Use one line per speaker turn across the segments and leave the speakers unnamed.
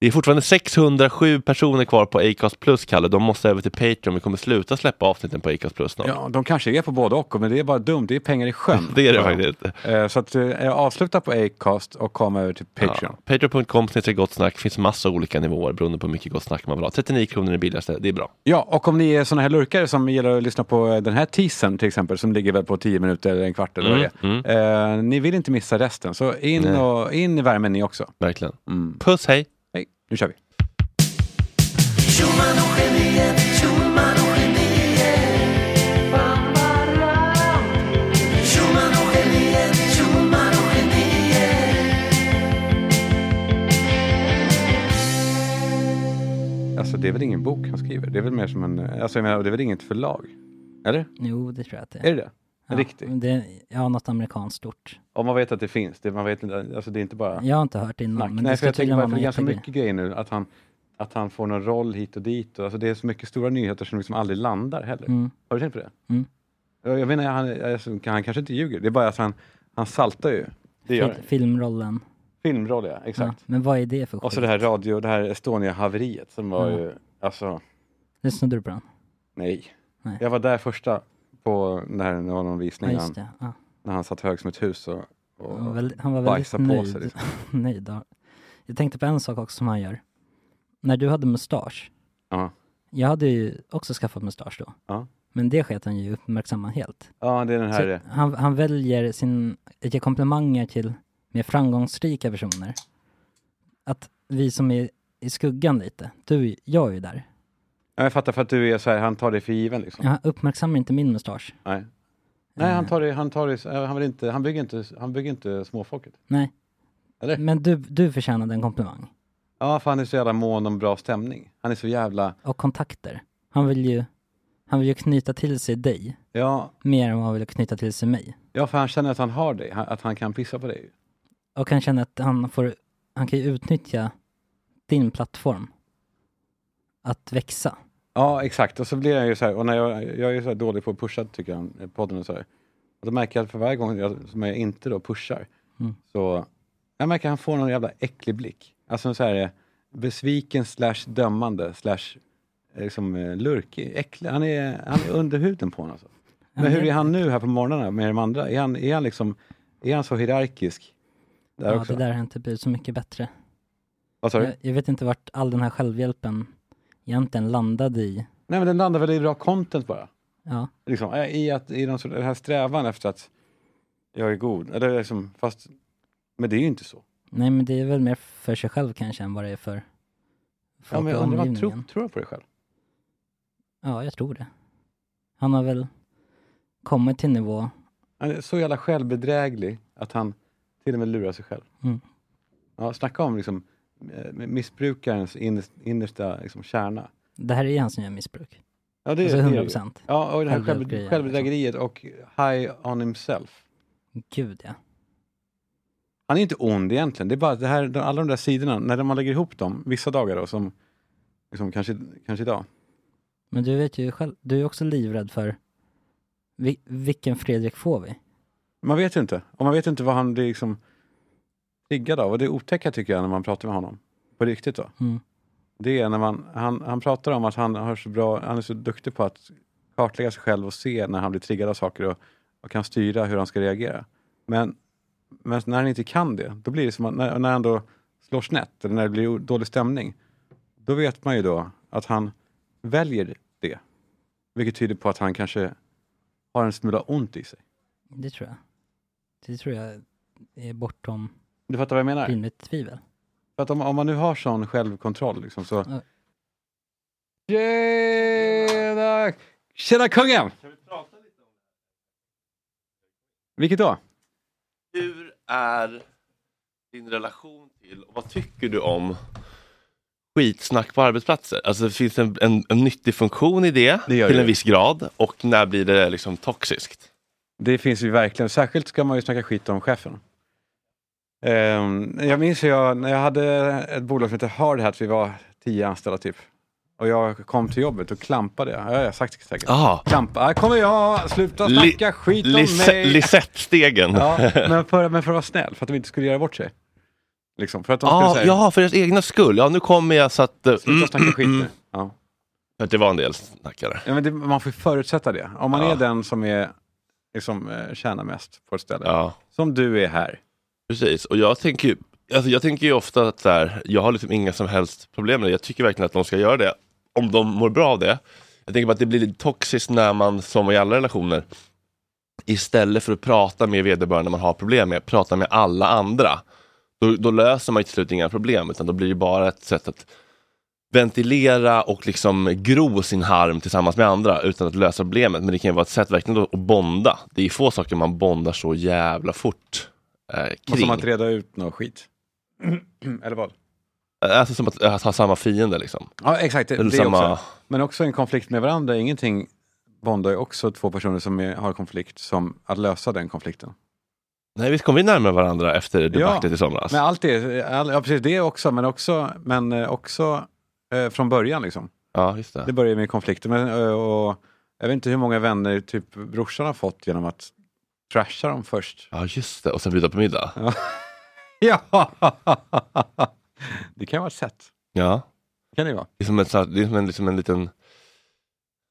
Det är fortfarande 607 personer kvar på Acast plus, Kalle. De måste över till Patreon. Vi kommer sluta släppa avsnitten på Acast plus snart.
Ja, de kanske är på både och, men det är bara dumt. Det är pengar i sjön.
Det är det
Ja.
faktiskt.
Eh, Så att, eh, avsluta på Acast och kom över till Patreon.
Ja. Patreon.com snedstreck gott snack. finns massa olika nivåer beroende på hur mycket gott snack man vill ha. 39 kronor är det billigaste. Det är bra.
Ja, och om ni är såna här lurkare som gillar att lyssna på eh, den här teasern till exempel, som ligger väl på 10 minuter eller en kvart eller vad det är. Eh, ni vill inte missa resten, så in,
Mm, Nej.
och, in i värmen ni också.
Verkligen.
Mm.
Puss, hej!
Hej, nu kör vi. Alltså det är väl ingen bok han skriver? Det är väl mer som en, alltså jag menar, det är väl inget förlag? Eller?
Jo, det tror jag att det
Är det det?
Ja,
En riktig?
men Det, ja, något amerikanskt stort.
Om man vet att det finns, det, man vet inte, alltså det är inte bara...
Jag har inte hört det innan,
snack.
Mm, men
Nej, för
det ska
jag tänker
tydligen
bara,
vara
för det
någon
är ganska
jättegrej.
mycket grejer nu, att han, att han får någon roll hit och dit. Och, alltså det är så mycket stora nyheter som liksom aldrig landar heller.
Mm.
Har du tänkt på det?
Mm.
Jag, jag menar, han, alltså, han kanske inte ljuger, det är bara att han, han saltar ju. Det gör
Fil-
han.
Filmrollen.
Filmroll, ja.
Ja,
Exakt.
men vad är det för skit?
Och så det här radio, det här Estonia-haveriet som var
Ja.
ju, alltså,
Det snodde du på den?
nej.
Nej.
Jag var där första på den här, det var någon
Ja,
visning
just
han,
det. Ja.
när han satt hög som ett hus och, och
Han var väldigt, han var väldigt
bajsade på sig.
nöjd.
Liksom.
nöjd då. Jag tänkte på en sak också som han gör. När du hade mustasch,
Ja.
jag hade ju också skaffat mustasch då.
Ja.
Men det sket han ju uppmärksamma helt.
ja, det är den här...
Så han, han väljer sin, ger komplimanger till mer framgångsrika personer. Att vi som är i skuggan lite, du, jag är ju där.
Ja, jag fattar för att du är så här, han tar dig för given liksom.
Han uppmärksammar inte min mustasch.
Nej. Nej, han
Eh,
tar det, han tar det, han vill inte, han bygger inte, han bygger inte småfolket.
Nej.
Eller?
Men du, du förtjänade en komplimang.
Ja, för han är så jävla mån om bra stämning. Han är så jävla,
Och kontakter. Han vill ju, han vill ju knyta till sig dig
ja,
mer än vad han vill knyta till sig mig.
ja för han känner att han har dig, han- att han kan pissa på dig.
Och han känner att han får, han kan ju utnyttja din plattform. Att växa.
Ja, exakt. Och så blir han ju så här, och när jag, jag är ju så här dålig på att pusha tycker han, i podden och så här. Och då märker jag att för varje gång jag, som jag inte då pushar,
Mm.
så, jag märker att han får någon jävla äcklig blick. Alltså så här, eh, besviken slash dömande slash eh, liksom eh, lurkig, äcklig. Han är, han är under huden på honom alltså. Men hur är han nu här på morgnarna med de andra? Är han, är han, liksom, är han så hierarkisk? Där
ja,
också?
det där har inte blivit så mycket bättre.
Vad sa du?
Jag, jag vet inte vart all den här självhjälpen egentligen landade i.
Nej, men den landar väl i bra content bara.
Ja,
Liksom, eh, I, att, i någon sorts, den här strävan efter att jag är god. Eller liksom, fast, men det är ju inte så.
nej men det är väl mer för sig själv kanske än vad det är för folk
Ja, men
i
jag undrar, vad
omgivningen.
tror, tror han på det själv?
Ja, jag tror det. Han har väl kommit till nivå,
Han är så jävla självbedräglig att han till och med lurar sig själv.
Mm.
Ja, snacka om liksom, eh, missbrukarens innersta, innersta liksom, kärna.
det här är hans nya missbruk.
Ja, det,
Alltså
det är
100
det ju.
procent.
Ja, och det här
Självbedrägeriet,
självbed-
liksom.
självbedrägeriet och high on himself.
Gud ja.
Han är inte ond egentligen. Det är bara att det här, de- alla de där sidorna, när man lägger ihop dem, vissa dagar då, som liksom, kanske, kanske idag.
Men du vet ju själv, du är också livrädd för vi, vilken Fredrik får vi?
Man vet ju inte. Och man vet inte vad han blir liksom triggad av. Och det otäcka tycker jag när man pratar med honom. På riktigt då.
Mm.
Det är när man, han, han pratar om att han, har så bra, han är så duktig på att kartlägga sig själv och se när han blir triggad av saker och, och kan styra hur han ska reagera. Men, men när han inte kan det, då blir det som att när, när han då slår snett eller när det blir o- dålig stämning, då vet man ju då att han väljer det. Vilket tyder på att han kanske har en smula ont i sig.
Det tror jag. Det tror jag är bortom
Du fattar vad jag menar?
rimligt tvivel.
För att om, om man nu har sån självkontroll liksom så...
Ja.
Tjena! Tjena kungen! Vilket då?
Hur är din relation till, och vad tycker du om skitsnack på arbetsplatser? Alltså finns det en, en, en nyttig funktion i det,
Det gör
till
det.
en viss grad? Och när blir det liksom toxiskt?
Det finns ju verkligen. Särskilt ska man ju snacka skit om chefen. Ehm, jag minns ju jag, när jag hade ett bolag som hette Hard Hat, vi var tio anställda typ. Och jag kom till jobbet och klampade. Ja, jag har sagt det säkert.
Ah,
Klampa. Här kommer jag, sluta
Li-
snacka skit om
Lise-
mig.
Lisette-stegen.
Ja, men, för, men för att vara snäll, för att de inte skulle göra bort sig. Liksom, för att de skulle
Ah,
säga,
ja, för deras egna skull. Ja, nu kommer jag så att... eh,
sluta
mm,
snacka skit
mm,
nu.
mm.
Ja.
För att det var en del snackare.
Ja, men det, man får ju förutsätta det. Om man
Ja.
är den som är, liksom, eh, tjänar mest på ett ställe,
Ja,
som du är här.
precis. Och jag tänker ju, alltså, jag tänker ju ofta att så här, jag har liksom inga som helst problem med det. Jag tycker verkligen att de ska göra det, om de mår bra av det. Jag tänker bara att det blir lite toxiskt när man, som i alla relationer, istället för att prata med vederbörande man har problem med, prata med alla andra. Då, då löser man ju till slut inga problem, utan då blir det bara ett sätt att ventilera och liksom gro sin harm tillsammans med andra utan att lösa problemet. Men det kan ju vara ett sätt verkligen då att bonda. Det är få saker man bondar så jävla fort eh,
Och
kring.
som att reda ut något skit. Eller vad?
Alltså som att, att ha samma fiende liksom.
Ja, exakt. Det,
Eller
det
samma-
också. Men också en konflikt med varandra. Ingenting bondar ju också två personer som är, har konflikt, som att lösa den konflikten.
Nej visst kom vi närmare varandra efter debaclet i somras?
Men allt det, all, ja, precis det också, men också, men eh, också eh, från början liksom.
Ja, just det.
Det börjar med konflikter. Men, ö, och, jag vet inte hur många vänner typ brorsan har fått genom att trasha dem först.
Ja, just det. Och sen bjuda på middag.
Ja! Det kan vara ett sätt.
Ja.
Det kan det vara.
Det är som, ett, så här- det är som en, liksom en liten...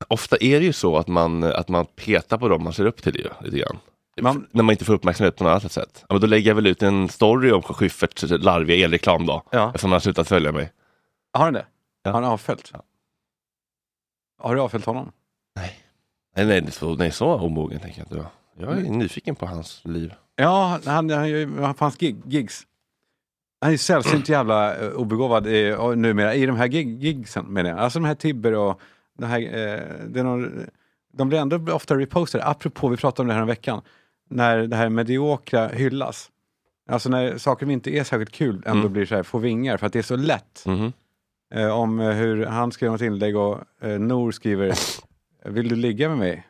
Ofta är det ju så att man, att man petar på dem man ser upp till ju, lite grann.
Man-
När man inte får uppmärksamhet på något annat sätt. Ja, men då lägger jag väl ut en story om Schyfferts larviga elreklam då.
Ja.
Eftersom han har slutat följa mig.
Har han det?
Ja.
Har han avföljt?
Ja.
Har du avföljt honom?
Nej, nej, det är så, nej så omogen tänker jag inte vara. Jag är nyfiken på hans liv.
Ja, han, han, gör ju- han fanns gig, gigs. Han är ju sällsynt jävla eh, obegåvad i, och numera i de här gig, gigsen menar jag. Alltså de här Tibber och de här, eh, det är någon, de blir ändå ofta repostade. Apropå, vi pratade om det här om veckan, när det här mediokra hyllas. Alltså när saker som inte är särskilt kul ändå
Mm.
blir så här, får vingar för att det är så lätt.
Mhm.
eh, om eh, hur han skrev något inlägg och eh, Nor skriver Vill du ligga med mig?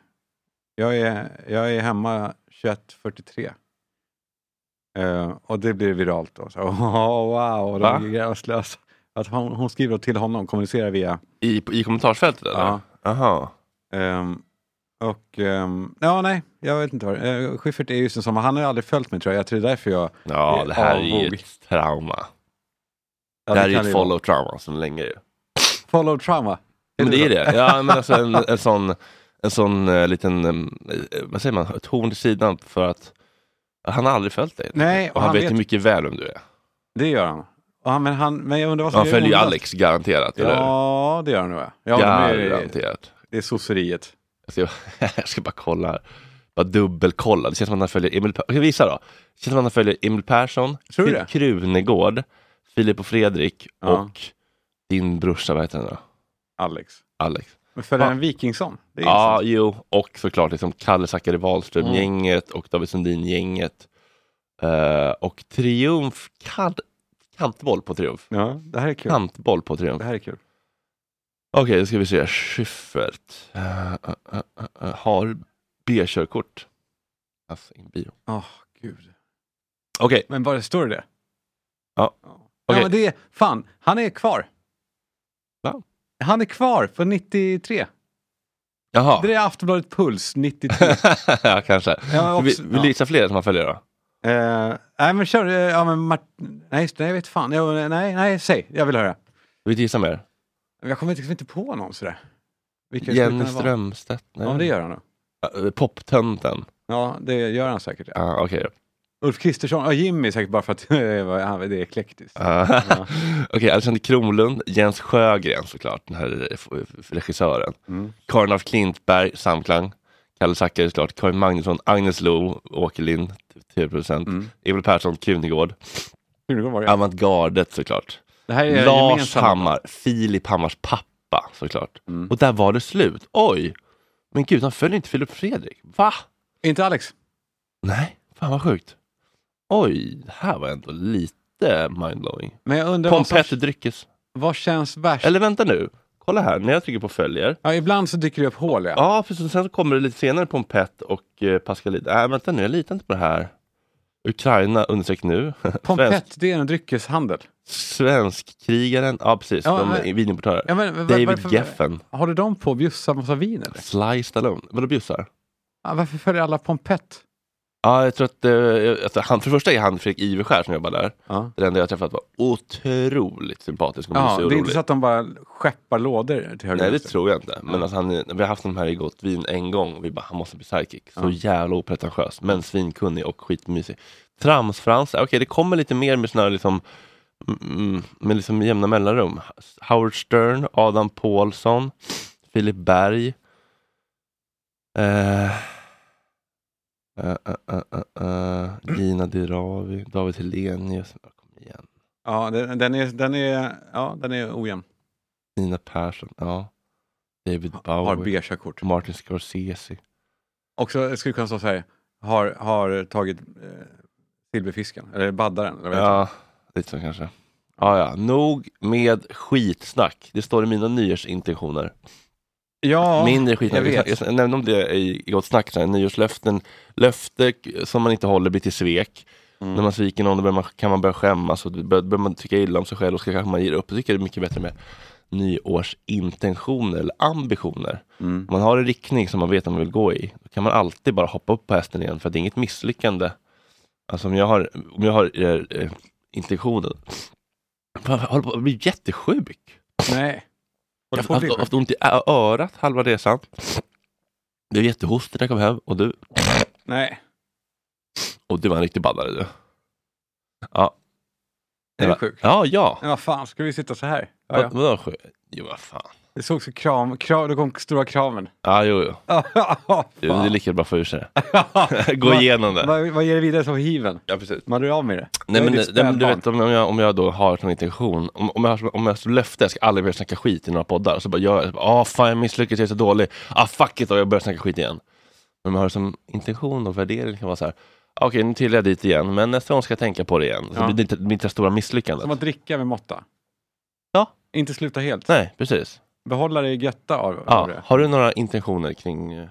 Jag är, jag är hemma 21.43. Eh, och det blir viralt då. Så, oh, wow, och de
Va?
är gränslösa. Att hon, hon skriver till honom, kommunicerar via...
I, I kommentarsfältet eller?
Ja.
Aha.
ehm, och, ehm, ja, nej, jag vet inte vad det är. Eh, Schyffert är just en sån, han har ju aldrig följt mig tror jag. Jag tror det är därför jag...
Ja, det här är ju
Avog.
ett trauma.
Ja,
det här är ju
kan
ett
det vara.
follow-trauma sedan länge ju.
Follow trauma.
Men det är
så?
det. Ja, men alltså en, en sån, en sån eh, liten, eh, vad säger man, ett horn i sidan för att han har aldrig följt dig.
Nej,
och han, vet ju mycket väl om du är.
Det gör han. Och han, men, han men jag undrar vad som
Han
Alltså, är
följer ju
ondast.
Alex garanterat, eller
Ja, det gör han nog. Ja, ja de är,
Garanterat.
det är sosseriet.
Jag ska, jag ska bara kolla här. Bara dubbelkolla. Det känns som att han följer Emil Per- Jag ska visa då. Det känns som att han följer Emil Persson,
Tror du
Fredrik
det?
Krunegård, Filip och Fredrik
Ja.
och din brorsa, vad heter han då?
Alex.
Alex.
Men följer
Ja.
han Wikingsson? Det är
Ja,
intressant.
jo, och såklart liksom Kalle Zackari
Mm.
Wahlström-gänget och David Sundin-gänget. Eh, och Triumf, kan, kantboll på Triumf.
ja, det här är kul.
Kantboll på Triumf.
Det här är kul.
Okej, då ska vi se. Schyffert eh, eh, eh, eh, har B-körkort. Alltså, in bio.
Åh, gud.
Okej,
Men bara står det
Ja.
Ja,
Okej.
men det är, fan, han är kvar.
Va?
Han är kvar för 93.
Jaha,
Det är Aftonbladet Puls 93.
ja, kanske.
Ja,
Vi-
också-
Vill du gissa fler som man följer då?
Eh, nej men kör, eh, ja men Martin, nej just det, jag vet fan, jag, nej, nej, säg, jag vill höra.
Vill du gissa mer?
Jag kommer liksom inte på någon sådär. Vilka skulle
Jenny
kunna vara?
Strömstedt? Nej.
Ja men det gör han nog.
Eh, Poptönten?
Ja det gör han säkert.
Ja, okej. då.
Ulf Kristersson, ja Jimmy säkert bara för att han, det är eklektiskt.
Ah.
Ja.
Okej, Alexander Kronlund, Jens Sjögren såklart, den här f- f- regissören.
Mm.
Karin af Klintberg, Samklang. Kalle Zackari såklart, Karin Magnusson, Agnes Lo, Åke Lind, 10%.
Mm.
Emil Persson, Krunegård.
Krunegård var det.
Avantgardet såklart.
det här är
Lars
gemensamma.
Hammar, Filip Hammars pappa såklart.
Mm.
Och där var det slut. Oj! Men gud, han följer inte Filip Fredrik. Va?
Inte Alex.
Nej, fan vad sjukt. Oj, det här var ändå lite mindblowing.
Men jag undrar vad, som,
Pompetter dryckes.
vad känns värst?
Eller vänta nu, kolla här, när jag trycker på följer.
Ja, ibland så dyker det upp hål ja.
Ja, precis. Sen så kommer det lite senare Pompett och eh, Pascalid. Nej, vänta nu, jag litar inte på det här. Ukraina, undersök nu. Svensk,
Pompett, det är en E dryckeshandel.
svenskkrigaren, ja precis,
Ja,
de
men-
är vinimportörer.
Ja, men, va-
David
varför-
Geffen,
Har du dem på att bjussa massa vin eller?
Sly Stallone. Vadå bjussar?
Ja, varför följer alla Pompett?
Ja, jag tror att, eh, att han, för det första är han Fredrik Iverskär som jobbar där.
Ja.
Den enda jag träffat var otroligt sympatisk och
Ja,
mysig
det
och
är
rolig.
inte så att de bara skeppar lådor till höger
Nej
och
det
vänster.
tror jag inte. Men
Ja.
alltså, han, är- vi har haft honom här i Gott Vin en gång och vi bara, han måste bli sidekick. Så
Ja.
jävla opretentiös, men svinkunnig och skitmysig. Trams-Frans, okej det kommer lite mer med såna här liksom, mm, med liksom jämna mellanrum. Howard Stern, Adam Paulsson, Filip Berg. Eh, eh, eh, eh, eh, Gina Dirawi, David Helenius, Ja, kom igen.
Ja, den, den, är, den, är, ja, den är ojämn.
Nina Persson, ja. David
Har
Bowie,
B-körkort.
Martin Scorsese.
Också jag skulle kunna stå så här, har, har tagit eh, silverfisken, eller baddaren. Eller vad heter
Ja, lite så kanske. Ja, ja. Nog med skitsnack. Det står i mina nyårsintentioner.
det? ja
Mindre skitsnack.
jag
Jag,
vet.
jag, nämnde om det i i Gott Snack, så här, nyårslöften. Löfte som man inte håller blir till svek.
Mm.
När man sviker någon då börjar man, kan man börja skämmas och då bör- börjar man tycka illa om sig själv och så kanske man ger upp. Jag tycker det är mycket bättre med nyårsintentioner eller ambitioner.
Mm.
Om man har en riktning som man vet att man vill gå i, då kan man alltid bara hoppa upp på hästen igen, för det är inget misslyckande. Alltså om jag har, om jag har eh, eh, intentionen. Fan, Jag håller på att bli jättesjuk.
Nej.
Jag har
Håller på att
haft,
bli
haft ont i ö- örat halva resan. Det är jättehosta när jag kom hem och du,
Nej,
och du var en riktig baddare du. Ja.
det är
Jag bara,
sjuk.
Ja, ja.
Men vad fan, ska vi sitta så här? Ja,
Vad-
ja.
Vadå sjuk? Jo, vad fan.
Det såg så kram, kram, då kom stora kramen.
Ja, jo, jo.
Fan.
Det är lika bra att få ur sig det. Gå
Vad-
igenom det.
vad, vad ger det vidare som hiven?
Ja, precis.
Man rör av med det.
Nej
Jag är
men,
ditt
nej, men du
spädbarn.
vet om jag, om jag då har som intention, om, om jag har som- om jag som löfte jag ska aldrig mer snacka skit i några poddar, så bara gör jag det. Ah fan jag misslyckades, jag är så dålig. Ah fuck it, och jag börjar snacka skit igen. Men om jag har som intention och värdering kan vara så här. Ah, Okej, nu trillar jag dit igen, men nästa gång ska jag tänka på det igen. Så
Ja.
blir det inte, blir inte det stora misslyckandet.
Som att dricka med måtta.
Ja.
Inte sluta helt.
Nej, precis.
Behålla det götta av, av
Ja.
det.
Har du några intentioner kring... eh?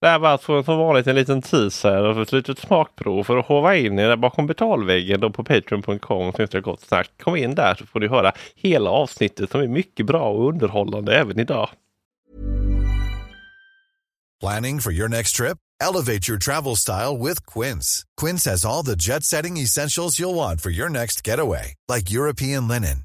Det här var alltså som vanligt en liten teaser och ett litet smakprov för att hova in er bakom betalväggen och på patreon.com finns det gott snack. Kom in där så får du höra hela avsnittet som är mycket bra och underhållande även idag.
Planning for your next trip? Elevate your travel style with Quince. Quince has all the jet setting essentials you'll want for your next getaway, like European linen,